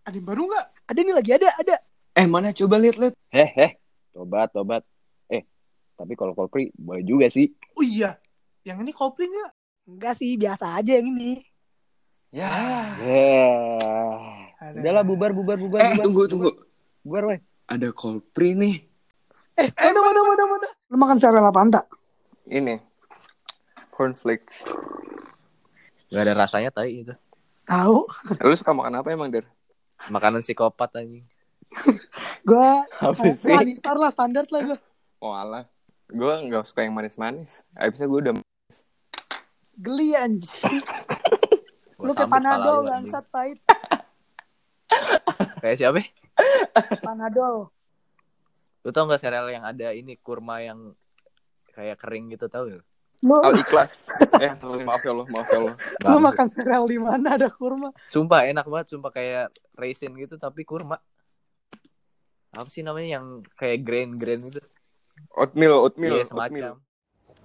Ada yang baru nggak? Ada nih lagi ada, ada. Eh mana coba lihat lihat. Heh, heh. Eh, Tobat, tobat. Eh, tapi kalau Kopri boleh juga sih. Oh iya. Yang ini kopling nggak? Enggak sih, biasa aja yang ini. Ya. Yeah. Ah, Ada. Udahlah bubar, bubar, bubar. Eh bubar, tunggu bubar, tunggu. Bubar, weh. Ada Kolpri nih. Eh, mana, mana, mana, mana. Lu makan sarela panta. Ini. Cornflakes. Gak ada rasanya tai itu. Tahu? Eh, Lu suka makan apa emang, Der? Makanan psikopat anjing. Gua eh, Apa sih? planistar lah, standar lah gua. Oh, alah. Gue nggak suka yang manis-manis. Abisnya gue udah... Geli anjing. Gua Lu kayak sambut pala panadol lu, anjing. bangsat pahit. Kayak siapa? ya? Panadol. Lu tau gak sereal yang ada ini kurma yang kayak kering gitu tau gak? Lu Al ikhlas. eh, maaf ya Allah, maaf ya Allah. lu makan sereal di mana ada kurma? Sumpah enak banget, sumpah kayak raisin gitu tapi kurma. Apa sih namanya yang kayak grain-grain gitu? Oatmeal, Iya, oatmeal, oatmeal.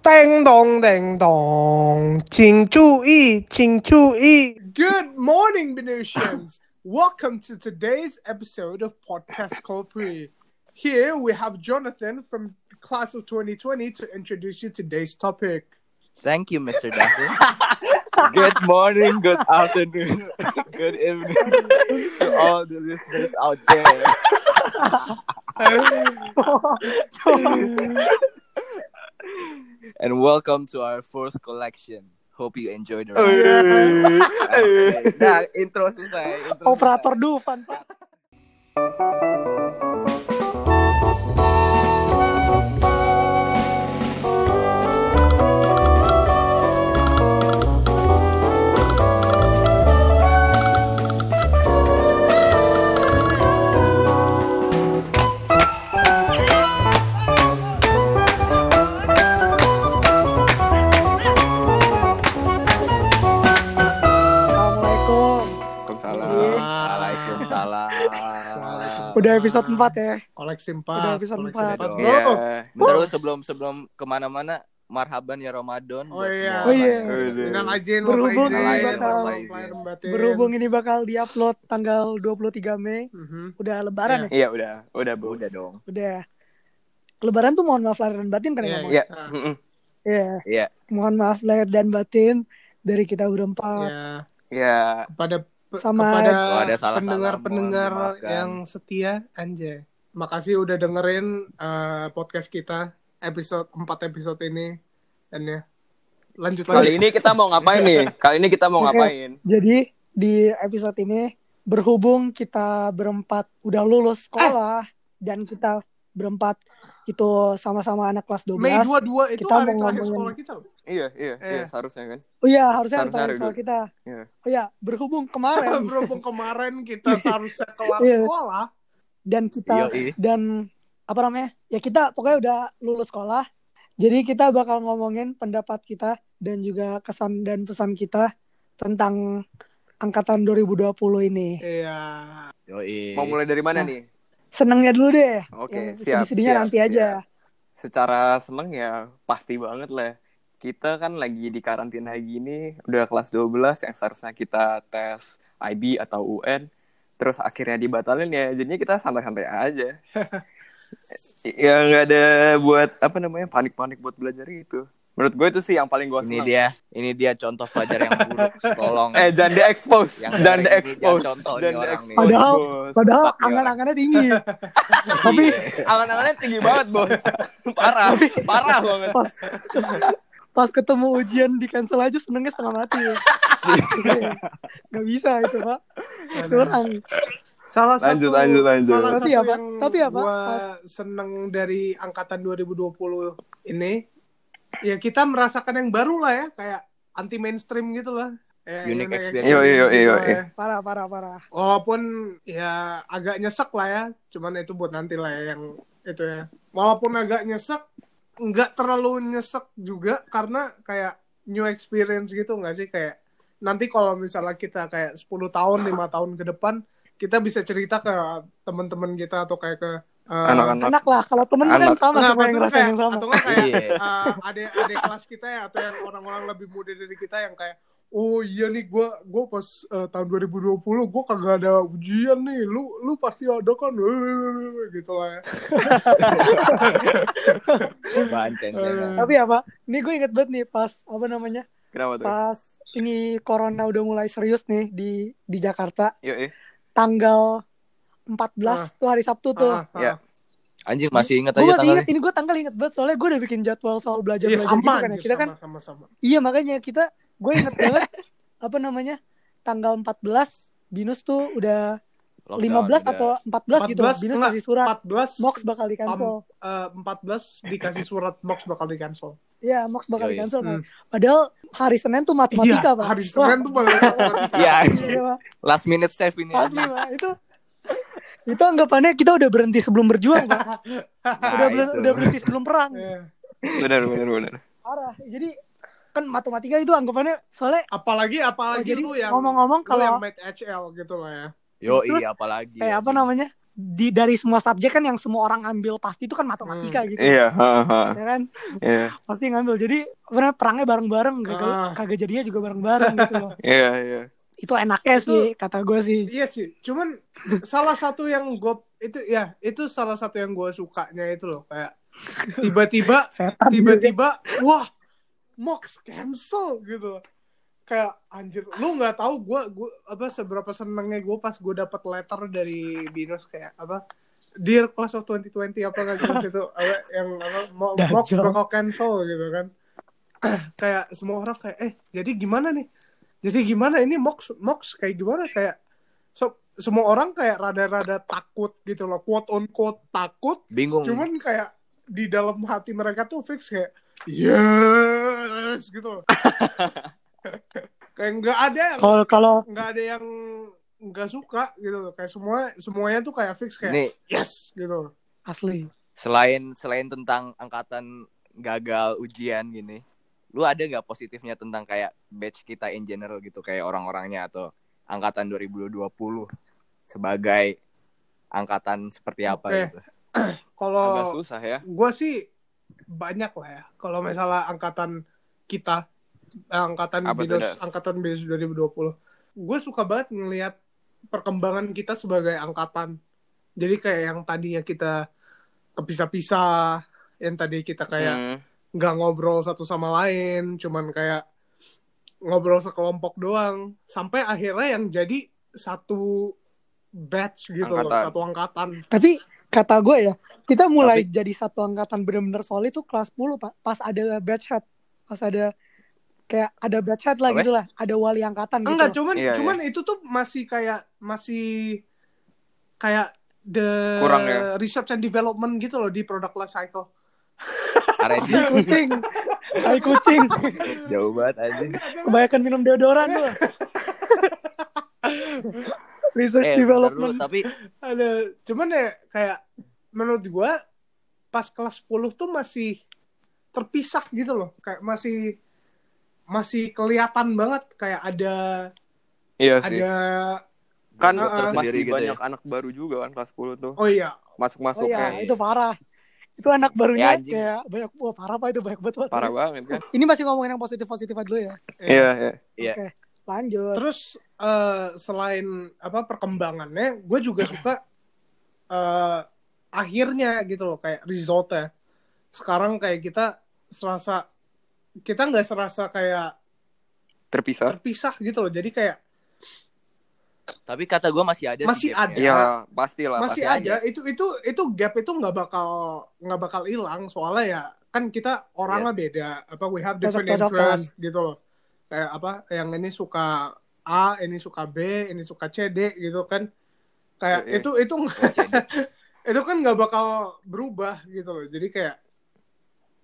semacam. Ding dong ding dong，请注意，请注意。 Good morning, Venusians. Welcome to today's episode of Podcast Colpri. Here we have Jonathan from the class of 2020 to introduce you today's topic. Thank you, Mr. Dawson. good morning, good afternoon, good evening to all the listeners out there. and welcome to our fourth collection. Hope you enjoyed the ride. Asik. Nah, intro selesai. intro Operator Dufan, Pak. Assalamualaikum. Waalaikumsalam. Iya. Waalaikumsalam. Udah episode 4 ya. Koleksi Udah empat. episode koleksi empat. empat. Iya. Bro, Iya. Bentar lu sebelum sebelum kemana-mana marhaban ya Ramadan. Oh buat iya. semua Oh iya. orang. minal aidin, wal Berhubung faizin, ini wal bakal- faizin, wal faizin. Berhubung ini bakal diupload tanggal 23 Mei, Mhm. udah lebaran ya? Iya, udah. Udah, Bu. Udah dong. Udah. Lebaran tuh mohon maaf lahir dan batin kan Iya, ya? Iya. Ah. Mm-mm. Iya. Iya. Mohon maaf lahir dan batin dari kita berempat. Ya, Iya. kepada pe- Sama- Kalau ada kepada salah-salah, pendengar-pendengar mohon dimaafkan. yang setia anjay. Makasih udah dengerin eh, podcast kita episode 4 episode ini. Dan ya lanjut lagi. Kali ini kita mau ngapain nih? Kali ini kita mau ngapain? Jadi di episode ini berhubung kita berempat udah lulus sekolah dan kita berempat itu sama-sama anak kelas Mei 12. 22 itu Kita hari mau terakhir ngomongin- sekolah kita. loh. Iya, iya, iya, Eh. seharusnya kan. Oh iya, harusnya Harusnya harus hari soal dua. kita. Iya. Oh iya, berhubung kemarin Berhubung kemarin kita seharusnya kelar Iya. sekolah. dan kita Yoi. dan apa namanya? Ya kita pokoknya udah lulus sekolah. Jadi kita bakal ngomongin pendapat kita dan juga kesan dan pesan kita tentang angkatan 2020 ini. Iya. Yoi. Mau mulai dari mana nih? Senengnya dulu deh. Oke, Yang siap. sedih-sedihnya siap, Iya, nanti aja. siap. Secara seneng ya pasti banget lah. Kita kan lagi di karantina gini, udah kelas 12 yang seharusnya kita tes IB atau UN, terus akhirnya dibatalin ya, jadinya kita santai-santai aja. ya nggak ada buat apa namanya panik-panik buat belajar gitu. Menurut gue itu sih yang paling gue Ini seneng. dia, ini dia contoh pelajar yang buruk. Tolong. Eh jangan di expose, Yang jangan sering di expose, dia contoh nih jangan di orang expose. Iya. nih. Padahal- bos. Padahal Sesat nih orang. angan-angannya tinggi. tapi Iya. angan-angannya tinggi banget bos, parah, parah banget. pas pas ketemu ujian di cancel aja senengnya setengah mati. Gak bisa itu pak. Curang. Salah satu Lanjut, lanjut, lanjut. salah Tapi satu apa? yang Tapi apa? gua Pas- seneng dari angkatan 2020 ini ya kita merasakan yang baru lah ya kayak anti mainstream gitu lah. Ya, Unique yang- experience. Yo, yo, yo, gitu yo. lah ya. Parah parah parah. Walaupun ya agak nyesek lah ya, cuman itu buat nanti lah ya yang itu ya. Walaupun agak nyesek, nggak terlalu nyesek juga karena kayak new experience gitu nggak sih kayak nanti kalau misalnya kita kayak 10 tahun, lima tahun ke depan kita bisa cerita ke teman-teman kita atau kayak ke eh, Anak-anak Enak lah kalau temen kan Anak. sama Nggak, sama yang maksudnya ngerasain Oh, kayak- yang sama. Atau nggak kayak Iya. eh, adik adik kelas kita ya atau yang orang-orang lebih muda dari kita yang kayak oh iya nih gue gue pas eh, tahun 2020 gue kagak ada ujian nih lu lu pasti ada kan gitu lah ya. Bancen. Eh, Tapi apa? Ini gue inget banget nih pas apa namanya? Kenapa tuh? Pas ini corona udah mulai serius nih di di Jakarta, Yuk, yuk. tanggal Ah. 14 tuh hari Sabtu tuh. ah, ah. Ya. Anjing masih inget Gue masih aja Iya, tanggalnya. inget ini gue tanggal inget banget soalnya gue udah bikin jadwal soal belajar Iya belajar sama, gitu kan ya. anjir, Kita kan sama, sama, sama. iya makanya kita gue inget banget apa namanya tanggal 14 Binus tuh udah Lockdown, 15 udah. atau 14 gitu. 14, Binus enggak. kasih surat 14 Mox bakal di cancel. eh, 14 dikasih surat box bakal di cancel. Iya, Mox bakal di Yoi. cancel. Hmm. Iya, Padal hari Senin tuh matematika, Pak. hari Senin kan tuh bakal matematika. Iya. Iya, Pak. Last minute save ini. Iya. Asli, Pak. Itu itu anggapannya kita udah berhenti sebelum berjuang, Pak. udah, Nah, ber- itu. udah berhenti sebelum perang. Iya. Benar, benar, benar. Parah. Jadi kan matematika itu anggapannya soalnya Apalagi apalagi Oh, jadi lu yang lu ngomong-ngomong yang kalau made HL gitu lah ya. Yo, Terus, iya apalagi. kayak apa namanya? Di dari semua subjek kan yang semua orang ambil pasti itu kan matematika Hmm. gitu. Iya, ha, ha. Ya kan? Iya, Pasti ngambil. Jadi benar perangnya bareng-bareng, gagal Ah. kagak jadinya juga bareng-bareng gitu loh. iya, iya. Itu enaknya Itu- sih kata gue sih. Iya sih, cuman salah satu yang gue itu ya itu salah satu yang gue sukanya itu loh kayak tiba-tiba Setan gitu. tiba-tiba wah Mox cancel gitu kayak anjir lu nggak tahu gue gua apa seberapa senengnya gue pas gue dapat letter dari Binus kayak apa Dear Class of 2020 apa nggak jelas itu apa, yang apa Mo- Dajjal. Mox bakal cancel gitu kan kayak semua orang kayak eh jadi gimana nih jadi gimana ini Mox Mox kayak gimana kayak so- semua orang kayak rada-rada takut gitu loh quote on quote takut Bingung. cuman kayak di dalam hati mereka tuh fix kayak yes gitu kayak nggak ada yang Kalau kalau nggak ada yang nggak suka gitu kayak semua semuanya tuh kayak fix kayak Nih, yes gitu asli selain selain tentang angkatan gagal ujian gini, lu ada nggak positifnya tentang kayak batch kita in general gitu kayak orang-orangnya atau angkatan 2020 sebagai angkatan seperti apa Oke. gitu. Agak kalau susah ya. gue sih banyak lah ya kalau misalnya angkatan kita eh, angkatan Apa tuh, Binus Das? angkatan Binus 2020 gue suka banget ngelihat perkembangan kita sebagai angkatan jadi kayak yang tadi ya kita kepisah-pisah yang tadi kita kayak Hmm. nggak ngobrol satu sama lain cuman kayak ngobrol sekelompok doang sampai akhirnya yang jadi satu batch gitu loh Angkatan. satu angkatan tapi kata gue ya kita mulai jadi satu angkatan bener-bener solid tuh kelas 10 pak pas ada batch head pas ada kayak ada batch head lah Apa? ya? gitu lah ada wali angkatan gitu Enggak, loh. cuman Iya, cuman itu tuh masih kayak masih kayak the Kurang ya? research and development gitu loh di product life cycle. R&D Tai kucing tai kucing jauh banget anjing. kebanyakan minum deodoran loh research Eh, bentar dulu, development tapi Ada cuman ya kayak menurut gua pas kelas 10 tuh masih terpisah gitu loh. Kayak masih masih kelihatan banget kayak ada Iya sih. ada Kan Grup tersendiri masih gitu banyak ya. anak baru juga kan kelas 10 tuh. oh iya, oh Masuk-masuk ya kan. itu parah itu anak barunya Ya, anjing. kayak banyak wah parah pak itu banyak banget Pak. Parah banget kan. ini masih ngomongin yang positif positif dulu ya Iya, iya. Iya. oke lanjut Terus eh, selain apa perkembangannya, gue juga suka eh, akhirnya gitu loh kayak resultnya. Sekarang kayak kita serasa kita nggak serasa kayak Terpisah. terpisah gitu loh. Jadi kayak tapi kata gua masih ada sih Masih gapnya. ada. Iya, pastilah. masih ada itu itu itu gap itu nggak bakal nggak bakal hilang soalnya ya kan kita orangnya Iya. beda apa we have different Cocok-cocokan. interest gitu loh kayak apa yang ini suka A ini suka B ini suka C D gitu kan kayak Iya, iya. itu itu itu kan nggak bakal berubah gitu loh jadi kayak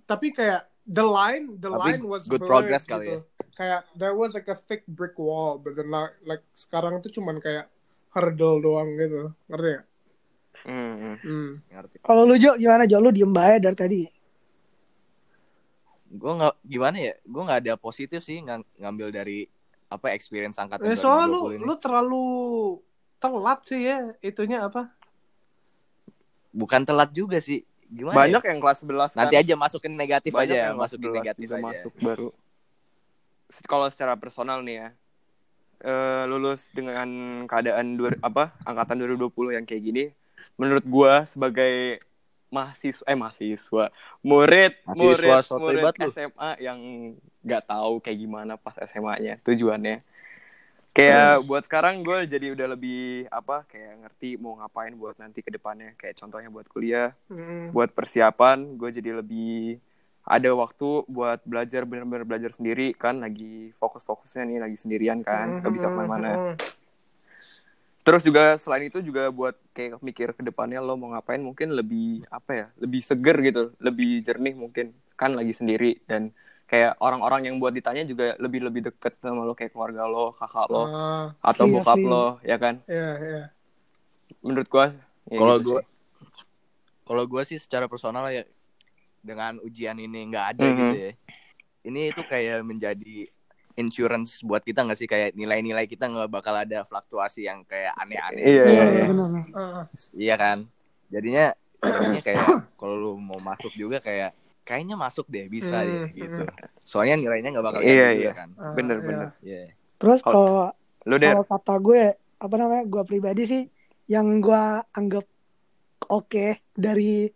tapi kayak the line the Tapi line was good blurred progress gitu. kali ya. kayak there was like a thick brick wall but then like, like sekarang tuh cuman kayak hurdle doang gitu ngerti ya Hmm. hmm. Ngerti. kalau lu Jo gimana Jo lu diem bae dari tadi Gua nggak gimana ya? Gua nggak ada positif sih ng- ngambil dari apa experience angkatan Eh, soalnya lu 2020 ini. lu terlalu telat sih ya itunya apa Bukan telat juga sih. Gimana? ya? Banyak yang kelas 11 kan. Nanti aja ya, masukin negatif aja, Banyak yang kelas masukin 11 negatif juga aja. masuk baru. se- kalau secara personal nih ya eh, lulus dengan keadaan dua, apa angkatan 2020 yang kayak gini menurut gua sebagai mahasiswa eh mahasiswa murid Mahasiswa murid sotoy murid banget lu. SMA yang nggak tahu kayak gimana pas SMA-nya Hmm. tujuannya kayak buat sekarang gue jadi udah lebih apa kayak ngerti mau ngapain buat nanti ke depannya kayak contohnya buat kuliah Hmm. buat persiapan gue jadi lebih ada waktu buat belajar bener-bener belajar sendiri kan lagi fokus-fokusnya nih lagi sendirian kan gak bisa Mm-hmm. kemana-mana Hmm. terus juga selain itu juga buat kayak mikir ke depannya lo mau ngapain mungkin lebih apa ya lebih seger gitu lebih jernih mungkin kan lagi sendiri dan kayak orang-orang yang buat ditanya juga lebih lebih deket sama lo kayak keluarga lo kakak lo Hmm, Ah, atau asli, bokap asli. lo ya kan ya, ya. menurut gua ya Kalau gitu gua sih. kalau gua sih secara personal ya dengan ujian ini nggak ada Mhm. gitu ya. Ini itu kayak menjadi insurance buat kita nggak sih kayak nilai-nilai kita nggak bakal ada fluktuasi yang kayak aneh-aneh. Iya, gitu. iya, Iya, iya. benar. Ah, Iya kan? Jadinya jadinya kayak kalau lu mau masuk juga kayak kayaknya masuk deh bisa Hmm, deh gitu. Soalnya nilainya nggak bakal Iya, jatuh iya. juga kan. ah, bener ya. bener Iya. Terus Kalau- kalau lo der kalau kata gue apa namanya gue pribadi sih yang gue anggap oke dari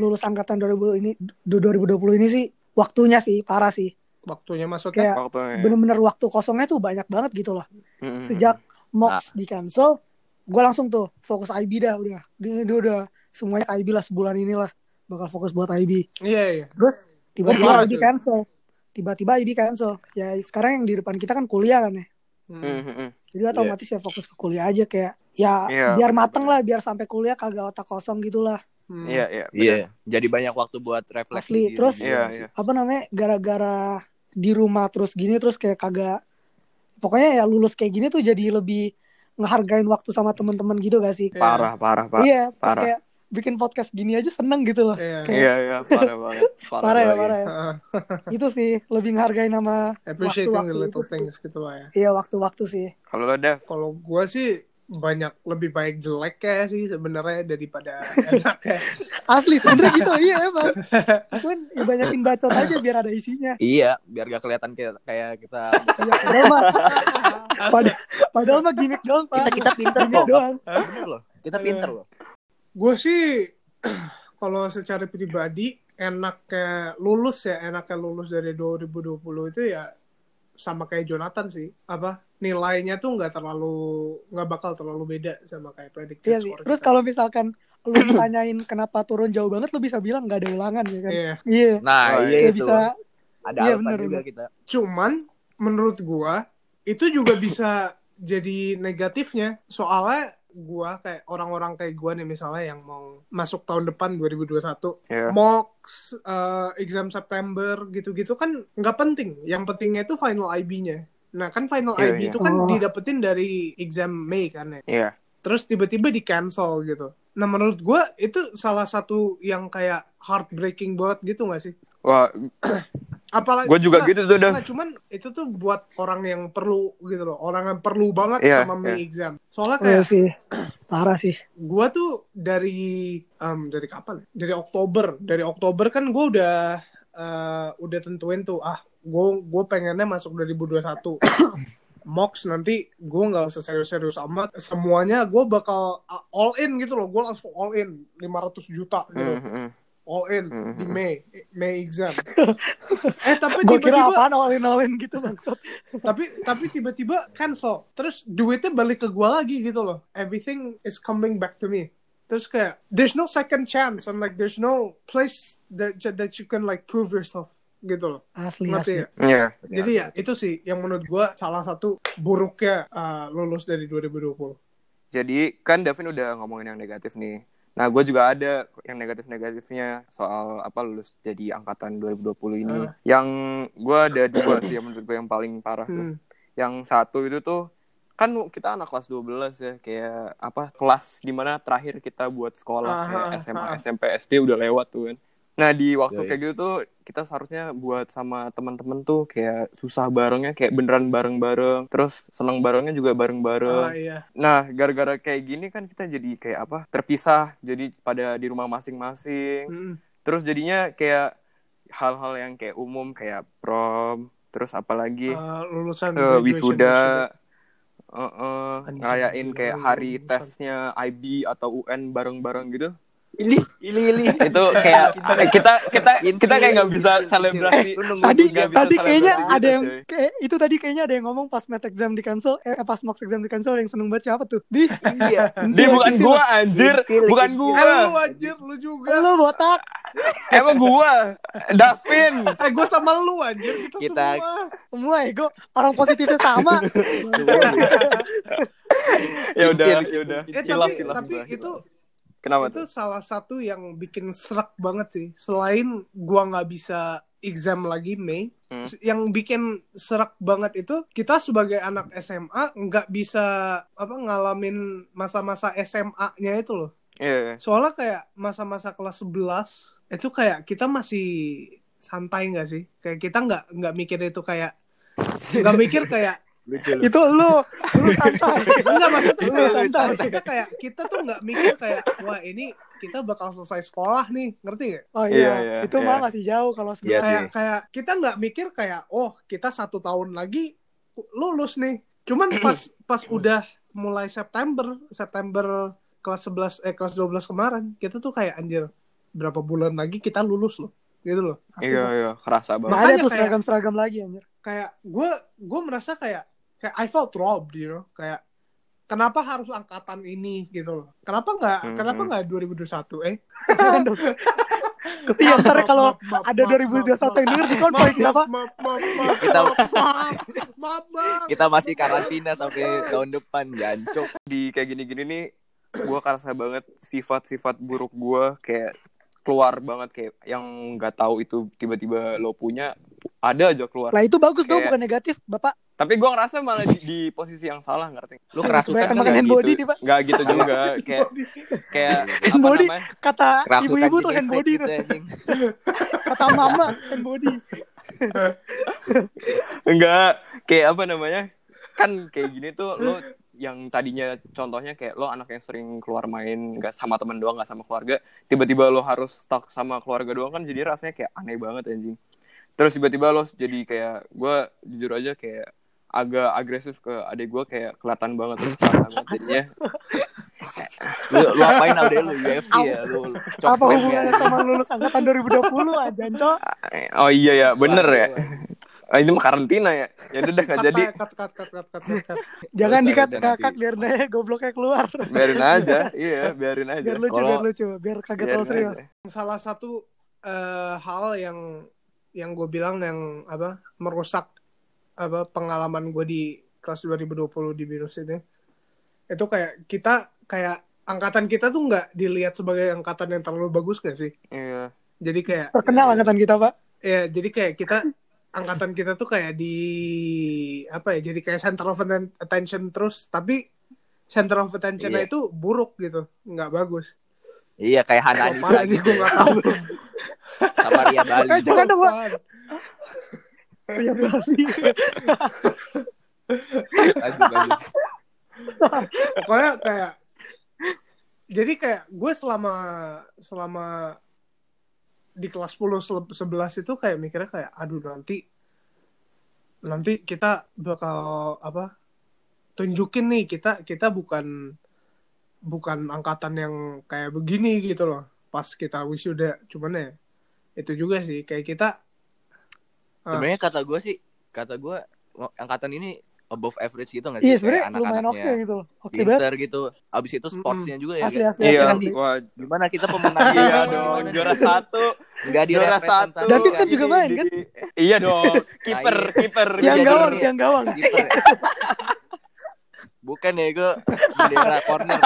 lulus angkatan 2000 ini du- 2020 ini sih waktunya sih parah sih Waktunya ya? maksudnya. kayak waktunya bener-bener waktu kosongnya tuh banyak banget gitu loh Mhm. sejak mox di cancel gue langsung tuh fokus IB dah udah dia dia udah semuanya ke IB lah sebulan inilah bakal fokus buat IB Iya, iya. terus Wah, tiba-tiba IB tuh. cancel tiba-tiba IB cancel ya sekarang yang di depan kita kan kuliah kan ya Hmm. Mhm. jadi otomatis ya fokus ke kuliah aja kayak ya Iya, biar benar, mateng benar. lah biar sampai kuliah kagak otak kosong gitulah Hmm. Iya, iya, Iya. benar. Jadi banyak waktu buat refleksi Asli, diri terus- juga Iya, nggak sih? iya. apa namanya gara-gara di rumah terus gini terus kayak kagak pokoknya ya lulus kayak gini tuh jadi lebih ngehargain waktu sama teman-teman gitu gak sih Iya. Parah, parah, Pak. iya parah. kayak bikin podcast gini aja seneng gitu loh Iya. Kayak- Iya, iya, parah banget. Parah, parah Iya. ya banget. parah ya Ah, itu sih lebih ngehargain sama appreciating the Waktu-waktu little itu. things gitu lah ya. iya waktu-waktu sih Kalau lo Dev, Kalau gua sih banyak lebih baik jeleknya sih sebenarnya daripada enaknya. asli sebenernya gitu iya emang cuman ya banyakin bacot aja biar ada isinya Iya, biar gak kelihatan kayak kayak kita Iya, padahal mah padahal, padahal mah gimmick doang kita pak kita pinter gimmick kok. doang Bener loh. Kita pinter loh. Iya. Gue sih kalau secara pribadi enaknya lulus ya enaknya lulus dari 2020 itu ya sama kayak Jonathan sih apa nilainya tuh nggak terlalu nggak bakal terlalu beda sama kayak predicted Iya sih. score Terus kita. kalau misalkan lu ditanyain kenapa turun jauh banget, lu bisa bilang nggak ada ulangan ya kan? Iya. Iya. Nah, Wah, iya Kayak itu. bisa. Ada iya, alasan bener, juga bener. kita. cuman menurut gua itu juga bisa jadi negatifnya soalnya gua kayak orang-orang kayak gua nih misalnya yang mau masuk tahun depan 2021 ya. Mox, eh, exam September gitu-gitu kan nggak penting. Yang pentingnya itu final IB-nya. Nah kan final Iya, IB iya. itu kan Oh. didapetin dari exam Mei kan ya. Iya. Terus tiba-tiba di cancel gitu. Nah menurut gua itu salah satu yang kayak heartbreaking banget gitu nggak sih? Wah, Apalagi gue juga nggak, gitu tuh, Dev. nggak, cuman itu tuh buat orang yang perlu gitu loh. Orang yang perlu banget Iya, sama iya. Mei exam. Soalnya Iya kayak sih. Parah sih. gua tuh dari em, dari kapan? ya? Dari Oktober. Dari Oktober kan gua udah eh, udah tentuin tuh ah gua gua pengennya masuk 2021. Mox nanti gua nggak usah serius-serius amat. Semuanya gua bakal uh, all in gitu loh. Gua langsung all in 500 juta gitu. Mhm. All in di Mei Mei exam. eh tapi Gue kira tiba-tiba apaan olin-olin gitu maksud. tapi tapi tiba-tiba cancel terus duitnya balik ke gua lagi gitu loh everything is coming back to me terus kayak there's no second chance and like there's no place that that you can like prove yourself gitu loh Asli, asli. ngerti ya? Iya. jadi ya itu sih yang menurut gua salah satu buruknya uh, lulus dari 2020 Jadi kan Davin udah ngomongin yang negatif nih. Nah, gue juga ada yang negatif-negatifnya soal apa lulus jadi angkatan 2020 ini. Ah. Yang gue ada dua sih yang menurut gue yang paling parah hmm. tuh. yang satu itu tuh kan kita anak kelas 12 ya kayak apa kelas dimana terakhir kita buat sekolah Aha, kayak SMA aha. SMP SD udah lewat tuh kan nah di waktu Yoi. kayak gitu tuh kita seharusnya buat sama teman-teman tuh kayak susah barengnya kayak beneran bareng-bareng terus seneng barengnya juga bareng-bareng ah iya Nah, gara-gara kayak gini kan kita jadi kayak apa? Terpisah, jadi pada di rumah Hmm. masing-masing. Mm-mm. Terus jadinya kayak hal-hal yang kayak umum kayak prom, terus apalagi Eh, lulusan Iya. eh, graduation ya. wisuda eh, eh, Anjing, ngerayain kayak gila, hari lulusan. tesnya IB atau UN bareng-bareng gitu Ili, ili, ili. itu kayak kita kita kita kayak nggak bisa Eh, selebrasi tadi nggak bisa tadi kayaknya selebrasi ada gitu, yang cuy. kayak itu tadi kayaknya ada yang ngomong pas mat exam di cancel eh pas mock exam di cancel yang seneng banget siapa tuh Di, iya. Eh, dia bukan gitu gua anjir Kecil, bukan kecil. graduation. gua Eh, lu anjir, lu juga. lo botak emang gua Davin Eh, gue sama lu anjir, kita, Kita- semua. semua ego orang positifnya sama ya udah Kecil, ya udah Eh, hilaf tapi hilaf tapi gua, hilaf. itu kenapa itu tuh salah satu yang bikin serak banget sih. Selain gua nggak bisa exam lagi Mei, Hmm. s- yang bikin serak banget itu kita sebagai anak SMA nggak bisa apa ngalamin masa-masa SMA-nya itu loh. Iya, iya. Soalnya kayak masa-masa kelas 11 itu kayak kita masih santai nggak sih? Kayak kita nggak nggak mikir itu kayak nggak mikir kayak itu lu lu santai Enggak Iya, maksudnya Lu kayak santai. maksudnya kayak kita tuh nggak mikir kayak wah ini kita bakal selesai sekolah nih ngerti gak? oh iya Iya, iya, itu iya. mah masih jauh kalau Iya sebenarnya kayak kayak kita nggak mikir kayak oh kita satu tahun lagi lulus nih. Cuman pas pas udah mulai September September kelas 11 eh kelas 12 kemarin kita tuh kayak anjir berapa bulan lagi kita lulus loh gitu loh iya iya kerasa banget nggak ada Makanya tuh kayak- seragam seragam lagi anjir kayak gue gue merasa kayak kayak I felt robbed you know kayak kenapa harus angkatan ini gitu loh kenapa nggak Mhm. kenapa nggak 2021 eh Jangan dong. kesian Iya, ntar Maaf, kalau maaf, maaf, ada maaf, 2021 yang denger di konvoy maaf, siapa maaf, maaf, maaf, Kita maaf, maaf, maaf. kita masih karantina sampai tahun depan, jancok. di kayak gini-gini nih gue kerasa banget sifat-sifat buruk gue kayak keluar banget kayak yang nggak tahu itu tiba-tiba lo punya ada aja keluar lah itu bagus tuh Kayak- bukan negatif bapak tapi gue ngerasa malah di, di posisi yang salah ngerti Lu kerasukan Kebanyakan kan makan nggak hand gitu? body nih pak nggak gitu juga kayak kayak Hand apa body. namanya kata Kerasukan ibu-ibu tuh jadi hand efek body gitu, tuh anjing. kata mama hand body enggak kayak apa namanya kan kayak gini tuh lo yang tadinya contohnya kayak lo anak yang sering keluar main nggak sama temen doang nggak sama keluarga tiba-tiba lo harus stuck sama keluarga doang kan jadi rasanya kayak aneh banget anjing terus tiba-tiba lo jadi kayak gue jujur aja kayak agak agresif ke adik gue kayak kelihatan banget tuh kelihatan banget jadinya Lu, lu apain ada lu UFC ya? Lu cok apa slam hubungannya ya? sama lulus angkatan 2020 aja Anco? oh iya ya bener ya Ah, ini mah karantina ya ya udah dah, nggak Cut, jadi cut, cut, cut, cut, cut, cut. jangan Bisa, dikat bisa kakak nanti. biar naya gobloknya keluar biarin aja iya biarin aja biar lucu Kalau- biar lucu biar kagak terlalu Biarin serius aja. salah satu eh, hal yang yang gue bilang yang apa merusak apa pengalaman gue di kelas 2020 di virus ini itu kayak kita kayak angkatan kita tuh nggak dilihat sebagai angkatan yang terlalu bagus gak sih iya jadi kayak terkenal angkatan kita pak ya jadi kayak kita angkatan kita tuh kayak di apa ya jadi kayak center of atten- attention terus tapi center of attention Iya. itu buruk gitu nggak bagus Iya kayak Hana Anissa Apaan sih gitu gue ya, nggak tahu sama Ria Bali. eh jangan dong pak Apaan? Iya, Bali. Lanjut, lanjut. pokoknya kayak jadi kayak gue selama selama di kelas 10 sele- 11 itu kayak mikirnya kayak aduh nanti nanti kita bakal apa tunjukin nih kita kita bukan bukan angkatan yang kayak begini gitu loh pas kita wisuda cuman ya itu juga sih kayak kita Sebenarnya kata gue sih, kata gue angkatan ini above average gitu nggak iya sih? Kayak sebenarnya lumayan oke anak-anaknya gitu loh oke banget Pinter gitu. Abis itu sportsnya juga ya. asli kayak- asli iya asli, asli. wah Gimana kita pemenang? iya dong juara satu Enggak di juara satu David kan juga main, kan? Di- iya dong kiper Nah, iya. kiper yang Iya, gawang ya. iya. yang gawang Bukan ya gue bendera corner.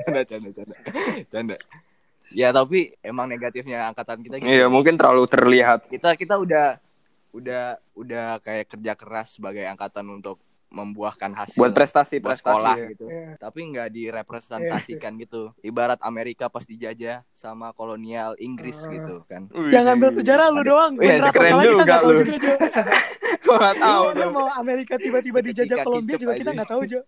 canda, canda, canda, canda. Ya tapi emang negatifnya angkatan kita gitu. iya mungkin terlalu terlihat kita kita udah udah udah kayak kerja keras sebagai angkatan untuk membuahkan hasil buat prestasi buat prestasi sekolah ya. gitu Iya. tapi nggak direpresentasikan gitu ibarat Amerika pas dijajah sama kolonial Inggris Ah. gitu kan Wih. jangan ambil sejarah lu Ada- doang Iya, Beneran, keren masalah kita juga nggak tahu lu. juga, Jo. Gua nggak tahu Iya, lu tuh. mau Amerika tiba-tiba Seketika dijajah Kolombia kicep juga kita aja. nggak tahu Jo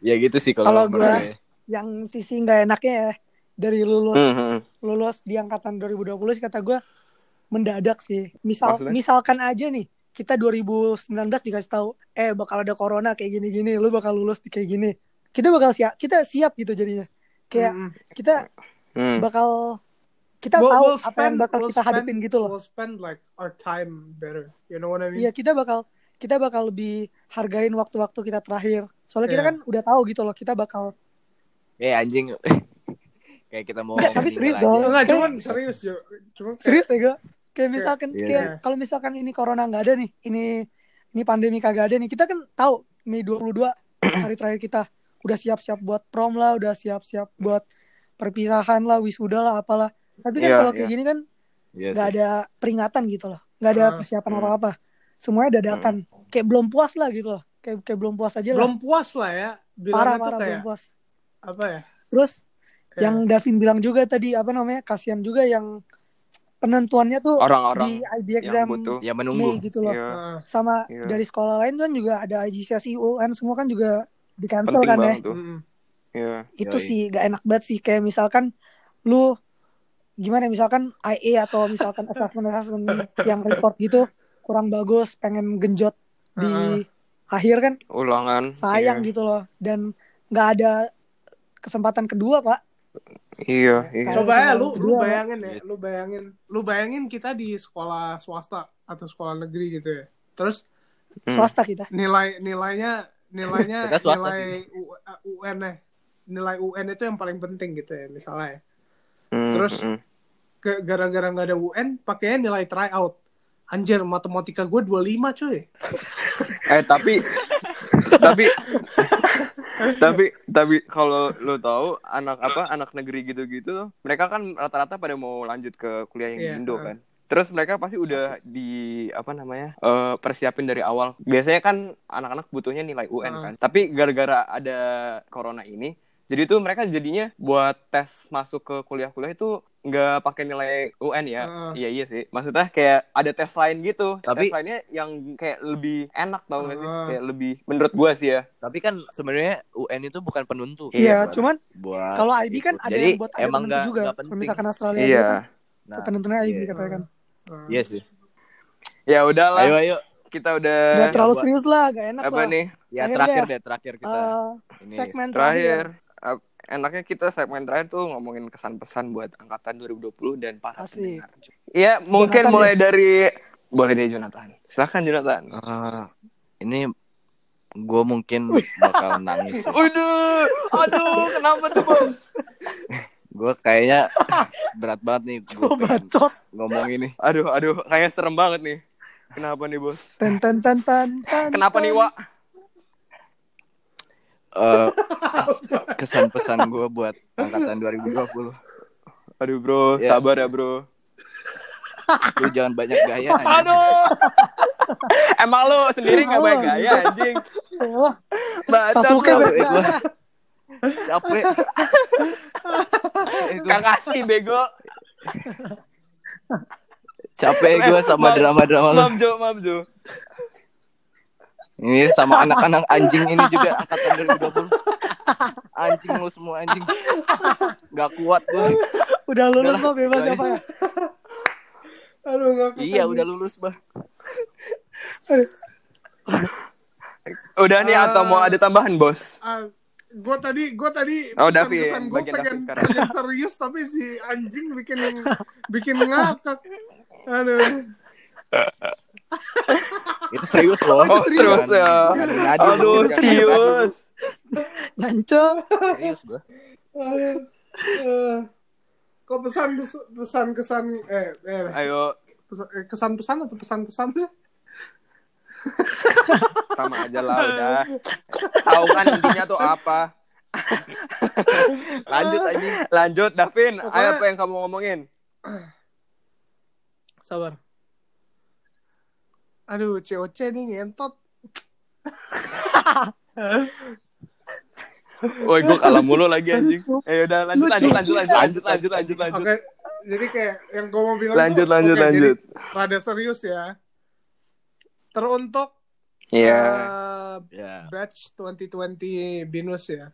ya gitu sih Kalau Ya gitu kalau gua- menurut gue. yang sisi nggak enaknya ya dari lulus Hmm, lulus di angkatan 2020 sih kata gue mendadak sih. Misal Maksudnya? misalkan aja nih kita 2019 dikasih tahu eh bakal ada corona kayak gini-gini, lu bakal lulus kayak gini. Kita bakal siap, kita siap gitu jadinya. Kayak Mm-mm. kita hmm. bakal kita We'll- tahu we'll apa yang spend- bakal we'll kita spend- hadapin gitu loh. We'll spend like our time better. You know what I mean? Iya, kita bakal kita bakal lebih hargain waktu-waktu kita terakhir. Soalnya kita Iya. kan udah tahu gitu loh, kita bakal Eh anjing. kayak kita mau Nggak, tapi ngomongin serius aja. dong. Enggak, Kayak- cuman serius, Jo. Cuman kayak- serius ya gue. Kayak misalkan Iya. kayak kalau misalkan ini corona nggak ada nih, ini ini pandemi kagak ada nih, kita kan tahu Mei 22 hari terakhir kita udah siap-siap buat prom lah, udah siap-siap buat perpisahan lah, wisuda lah, apalah. Tapi kan Iya, kalau kayak iya. gini kan Iya nggak sih. ada peringatan gitu loh nggak ada Ah, persiapan hmm. apa-apa semuanya dadakan kayak belum puas lah gitu loh kayak kayak belum puas aja lah belum puas lah ya. parah Bilangnya tuh parah kayak belum puas apa ya? terus Kayak- yang Davin bilang juga tadi apa namanya kasihan juga yang penentuannya tuh di Orang-orang IB yang exam butuh. Ya Mei menunggu. gitu loh Iya. ah, sama Iya. dari sekolah lain kan juga ada IGCSE UN semua kan juga di cancel Penting kan ya banget tuh. mm-mm. Iya. itu Yoi. sih gak enak banget sih kayak misalkan lu gimana ya, misalkan IE atau misalkan assessment assessment yang report gitu kurang bagus pengen genjot di akhir kan Ulangan. sayang Iya. gitu loh dan nggak ada kesempatan kedua pak Iya. iya. Coba ya lu lu Kedua, bayangin ya, Iya. lu bayangin, lu bayangin kita di sekolah swasta atau sekolah negeri gitu ya. Terus Hmm. swasta kita nilai nilainya nilainya Kita swasta nilai U- uh, UN -nya. nilai UN itu yang paling penting gitu ya misalnya. ya. Hmm, Terus, hmm. Ke- Gara-gara nggak ada UN, pakainya nilai tryout. Anjir, matematika gue 25 cuy. Eh tapi tapi tapi tapi kalau lu tahu anak apa anak negeri gitu-gitu mereka kan rata-rata pada mau lanjut ke kuliah yang Iya, di Indo heeh. kan. Terus mereka pasti udah di apa namanya eh, persiapin dari awal. Biasanya kan anak-anak butuhnya nilai UN Heeh. kan. Tapi gara-gara ada corona ini jadi tuh mereka jadinya buat tes masuk ke kuliah-kuliah itu nggak pakai nilai UN ya. Heeh. Iya iya sih. Maksudnya kayak ada tes lain gitu. Tapi- tes lainnya yang kayak lebih enak tau gak sih? Heeh. Kayak lebih menurut gua sih ya. Tapi kan sebenarnya UN itu bukan penentu. iya Iya, cuman Buat kalau IB kan ada ikut. Nah, gitu. Jadi, yang buat ada emang penentu nggak- juga nggak kalau penting. misalkan Australia Iya. ada Nah, kan penentunya IB iya. katanya kan Heeh. Iya sih. Ya Nah, udahlah. Ayo ayo. Kita udah udah terlalu Apa- serius lah gak enak apa lah nih? Ya Terakhir terakhir dah. deh, terakhir kita. Eh, Ini segmen terakhir, Terakhir. Ap- Enaknya kita segmen terakhir tuh ngomongin kesan-pesan buat angkatan 2020 dan para Asik. pendengar. Iya, mungkin Jonathan mulai dari boleh deh Jonathan. Silahkan Jonathan. Ah, ini gue mungkin bakal nangis. Aduh, aduh, kenapa tuh, Bos? Gue kayaknya berat banget nih gue Gua bacot ngomong ini. Aduh, aduh, kayaknya serem banget nih. Kenapa nih, Bos? ten ten ten ten ten Kenapa nih, ten. Wak? Eh, kesan pesan gue buat angkatan 2020. Aduh, Bro, Ya. sabar ya, Bro. Lu jangan banyak gaya. anjing. Aduh. Emang lu sendiri nggak banyak Allah. gaya anjing. Wah, Bacot Sasuke lu. Capek gue. Capek. Capek gue. Kakashi bego. Capek gue sama Maaf. drama-drama lu. Maaf Jo, maaf Jo. Ini sama anak-anak anjing ini juga angkatan 2020. Anjing lu semua anjing. Gak kuat gue. udah lulus Udah lah, mah bebas udah apa ya Aduh, nggak keren. Iya udah lulus bah. Udah nih Ah. atau mau ada tambahan, Bos? gue Ah, tadi gue tadi Oh, Davi, pesan-pesan gue bagian pengen, Davi sekarang. pengen serius tapi si anjing bikin bikin ngakak aduh Itu serius loh. Oh, serius ya. Jangan ngadu-ngadu. Aduh, Jangan ngadu-ngadu. cius. Nancel. Serius gue. aduh Eh, kok pesan pesan kesan eh, eh Ayo, kesan pesan eh, atau pesan kesan sih sama aja lah udah. Tahu kan intinya tuh apa? Lanjut anjing. Lanjut, Davin. Ayo Pokoknya- apa yang kamu ngomongin? sabar aduh COC nih ngentot Woi, gua kalah mulu lagi anjing. Eh, udah lanjut, lanjut, lanjut, lanjut, lanjut, lanjut, lanjut, oke lanjut. jadi kayak yang gue mau bilang Lanjut, tuh, lanjut, oke, jadi lanjut. rada serius ya teruntuk Iya. eh, Ya. batch 2020 binus ya.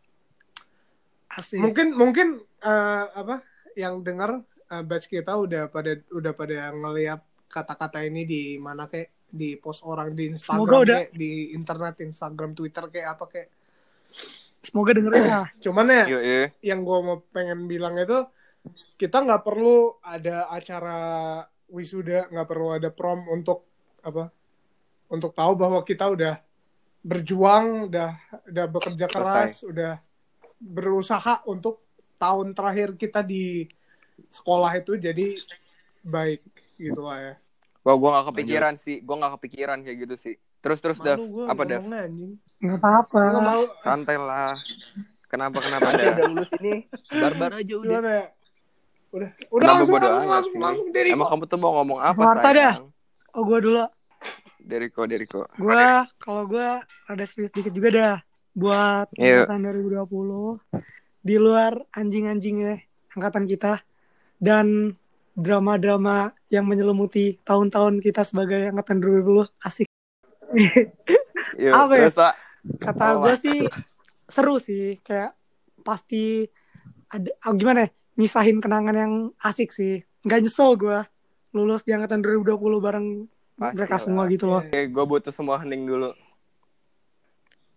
Asik. mungkin mungkin eh, apa yang dengar eh, batch kita udah pada udah pada ngeliat kata-kata ini di mana kayak di post orang di Instagram Semoga udah- kek, di internet Instagram Twitter kayak apa kayak Semoga dengerin lah. cuman ya Yuk, yuk. yang gua mau pengen bilang itu kita nggak perlu ada acara wisuda nggak perlu ada prom untuk apa untuk tahu bahwa kita udah berjuang udah udah bekerja keras udah berusaha untuk tahun terakhir kita di sekolah itu jadi baik gitu lah ya Wah, gue gak kepikiran sih. Gue gak kepikiran kayak gitu sih. Terus, terus, Dev. Malu gua Apa, Dev? ngomongnya, anjing. Nggak apa-apa. Gua malu. Santai lah. Kenapa, kenapa, Nanti Dev? udah lulus ini barbar aja udah. Cuman ya, udah udah Kenapa langsung bodo langsung amat langsung, sih? langsung diri Emang kamu tuh mau ngomong apa, Marta dah. sayang? Oh gue dulu. Deriko, Deriko. Gue kalau gue ada serius dikit juga dah. Buat Iya. angkatan 2020 di luar anjing-anjingnya angkatan kita dan drama-drama yang menyelimuti tahun-tahun kita sebagai angkatan 2020 asik. Yuk, Apa ya? terus, Pak. Kata gue sih seru sih kayak pasti ada ah, gimana ya? Nyisahin kenangan yang asik sih. Nggak nyesel gue lulus di angkatan 2020 bareng Pasti mereka lah. semua gitu loh. Oke, gue butuh semua hening dulu.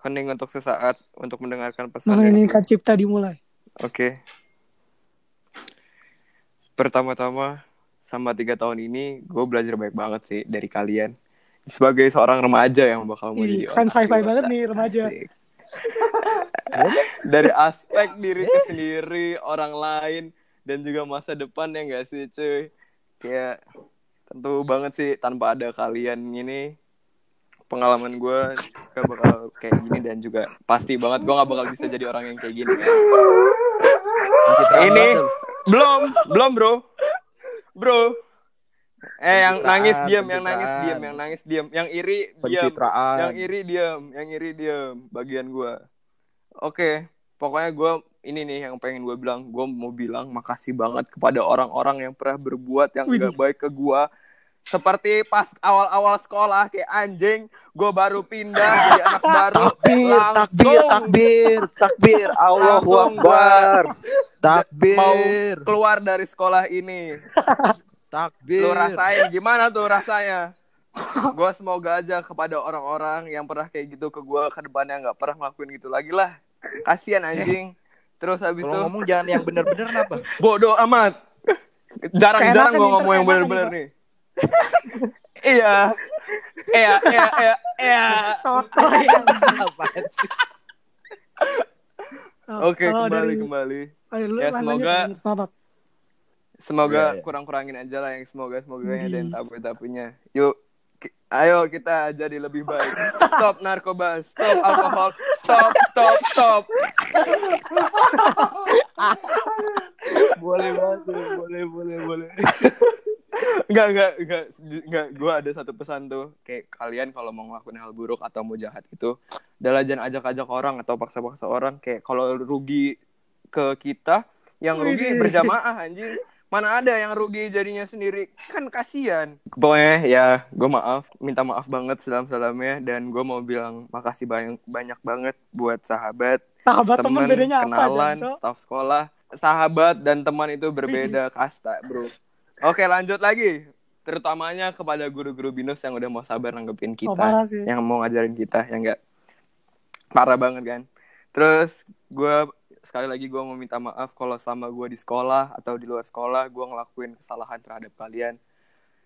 Hening untuk sesaat, untuk mendengarkan pesan. Maka ini dari- kan cipta dimulai. Oke. Pertama-tama, sama tiga tahun ini, gue belajar banyak banget sih dari kalian. Sebagai seorang remaja yang bakal mau Ih, jadi fans orang sci-fi dewasa. banget nih remaja. Asik. dari aspek diri itu sendiri, orang lain, dan juga masa depan ya nggak sih cuy? Kayak tentu banget sih tanpa ada kalian ini pengalaman gue gak bakal kayak gini dan juga pasti banget gue gak bakal bisa jadi orang yang kayak gini. Ini belum, belum bro, bro. Eh yang Pencitraan, nangis diam, yang pencitraan. nangis diam, yang nangis diam, yang iri diam. Pencitraan. Yang iri diam, yang iri diam bagian gua. Oke, pokoknya gua ini nih yang pengen gue bilang, gua mau bilang makasih banget kepada orang-orang yang pernah berbuat yang Widih. gak baik ke gua. Seperti pas awal-awal sekolah kayak anjing, gua baru pindah jadi anak baru. Takbir, langsung takbir, takbir, takbir, Allahu Langsung Akbar. Takbir, mau keluar dari sekolah ini. takbir. Lu rasain gimana tuh rasanya? Gua semoga aja kepada orang-orang yang pernah kayak gitu ke gua ke depannya nggak pernah ngelakuin gitu lagi lah. Kasian anjing. Terus habis Iya. Kalau itu ngomong jangan yang bener-bener apa? bodoh amat. Jarang-jarang Keenakan gua nih, ngomong yang terkeenakan bener-bener nih. iya. Iya, iya, iya, iya. Sotoy. Apaan sih? Oh, Oke, kalau kembali dari- kembali. oh, lu Ya, lanjut, semoga- lanjut, maaf, maaf. Iya, Semoga iya. kurang-kurangin aja lah yang semoga semoga ada yang Widih. tabu-tabunya. Yuk, ki- ayo kita jadi lebih baik. Stop narkoba, stop alkohol, stop, stop, stop. Boleh banget, tuh. boleh, boleh, boleh. Enggak, enggak, enggak, enggak. Gue ada satu pesan tuh. Kayak kalian kalau mau ngelakuin hal buruk atau mau jahat itu, adalah jangan ajak-ajak orang atau paksa-paksa orang. Kayak kalau rugi ke kita, yang rugi Widih. berjamaah anjing. Mana ada yang rugi jadinya sendiri? Kan kasihan. Pokoknya ya, gue maaf, minta maaf banget selam-salamnya dan gue mau bilang makasih banyak banyak banget buat sahabat Sahabat temen teman, bedanya apa, Oh, kenalan, Jancok? staf sekolah, sahabat dan teman itu berbeda kasta, bro. Oke, lanjut lagi. Terutamanya kepada guru-guru binus yang udah mau sabar Oh, nanggepin kita, parah sih. yang mau ngajarin kita, yang enggak parah banget kan. Terus gue sekali lagi gue mau minta maaf kalau selama gue di sekolah atau di luar sekolah gue ngelakuin kesalahan terhadap kalian.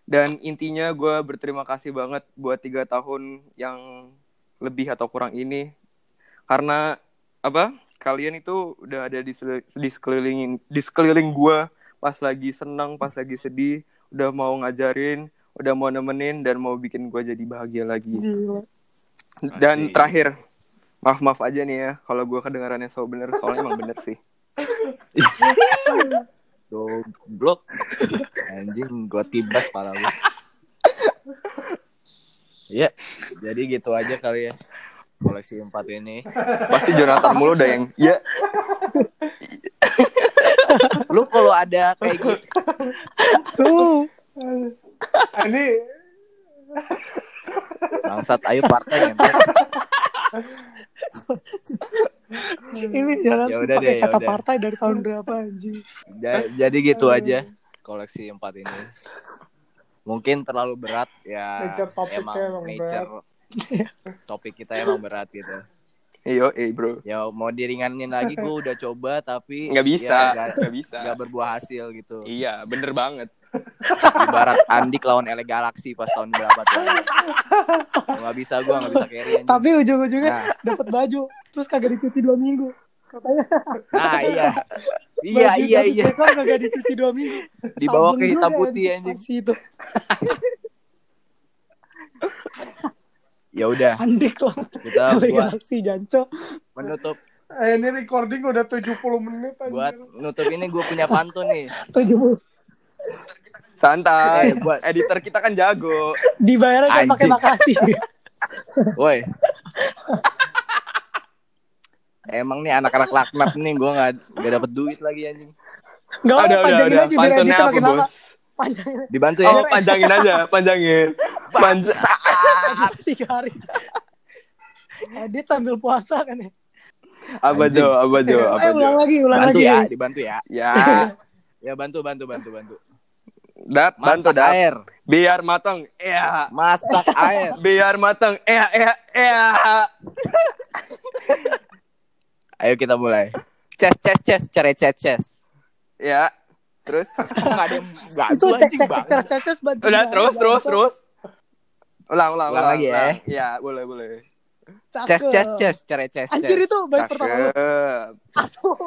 Dan intinya gue berterima kasih banget buat tiga tahun yang lebih atau kurang ini karena apa kalian itu udah ada di, sel- di sekeliling di sekeliling gue pas lagi senang pas lagi sedih udah mau ngajarin udah mau nemenin dan mau bikin gue jadi bahagia lagi Gila. dan Asik. terakhir maaf maaf aja nih ya kalau gue kedengarannya so bener soalnya emang bener sih Goblok. Anjing, gua tibas parah lu. Ya, jadi gitu aja kali ya. Koleksi empat ini. pasti Jonathan mulu dah yang ya Lu kalau ada kayak gitu Su. ini Bangsat, ayo partai nyempet. Ini jalan Ya udah pakai deh, ya kata udah. partai dari tahun berapa anjing? Ja- jadi gitu aja koleksi empat ini. Mungkin terlalu berat ya. Nature topiknya emang emang nature topik kita emang berat gitu. Iyo, eh bro. Ya mau diringanin lagi gue udah coba tapi Nggak bisa, ya, nggak- nggak bisa. nggak berbuah hasil gitu. Iya, bener banget. Ibarat Andik lawan Ele Galaxy pas tahun berapa tuh. Nggak bisa gue nggak bisa carry. anjing. Tapi ujung-ujungnya Nah, dapat baju, terus kagak dicuci dua minggu. Katanya nah iya. Iya baju iya dari iya. Beckham kagak dicuci dua minggu. Dibawa Sabun ke hitam juga putih anjing, anjing. pas itu. Ya udah, Andik lah. kita Kali buat galaksi janco. menutup Eh, ini recording udah 70 menit aja. buat menutup ini gue punya pantun nih. 70. Santai, Eh, buat editor kita kan jago. Dibayarnya kan pakai Anjing. makasih. Woi. Emang nih anak-anak laknat nih gue nggak nggak dapet duit lagi anjing. Enggak apa Udah, udah, panjangin aja udah. biar Pantunnya editnya apa, makin lama. bos? Panjangin Dibantu ya. Oh, panjangin aja, panjangin. Panjang. aja tiga hari. Edit sambil puasa kan ya. Apa Anjing. Jo? Apa Jo? Apa Eh Jo? ulang lagi, ulang Bantu lagi. ya, dibantu ya. Ya, Ya bantu bantu bantu bantu. dap, bantu Masak dap. air, Biar matang. Ya. masak air. Biar matang. Ya, ya, ya. Ayo kita mulai. Ces ces ces cerecet ces. Ya. Terus Nggak ada yang nggak Itu ada cek anjing cek bang. cek cek cek cek bantu. udah Jangan, terus jangan, terus cek. terus. Ulang, ulang, Ulang ulang. lagi ya. ulang. Ya, boleh, boleh. Ces Cakep. ces ces cerecet Anjir ces. itu baik pertama lu. Cakep. Asuh.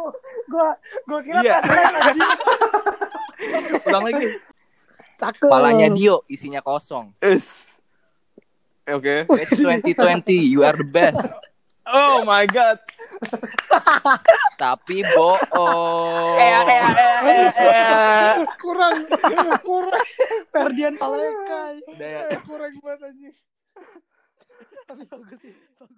Gua gua kira Iya. tes lain anjing. Ulang lagi. Cakep. Palanya Dio isinya kosong. Is. Oke. Batch 2020, you are the best. Oh my god. Tapi bohong. kurang kurang Ferdian Paleka. ya. kurang banget aja. Tapi bagus sih. Bagus.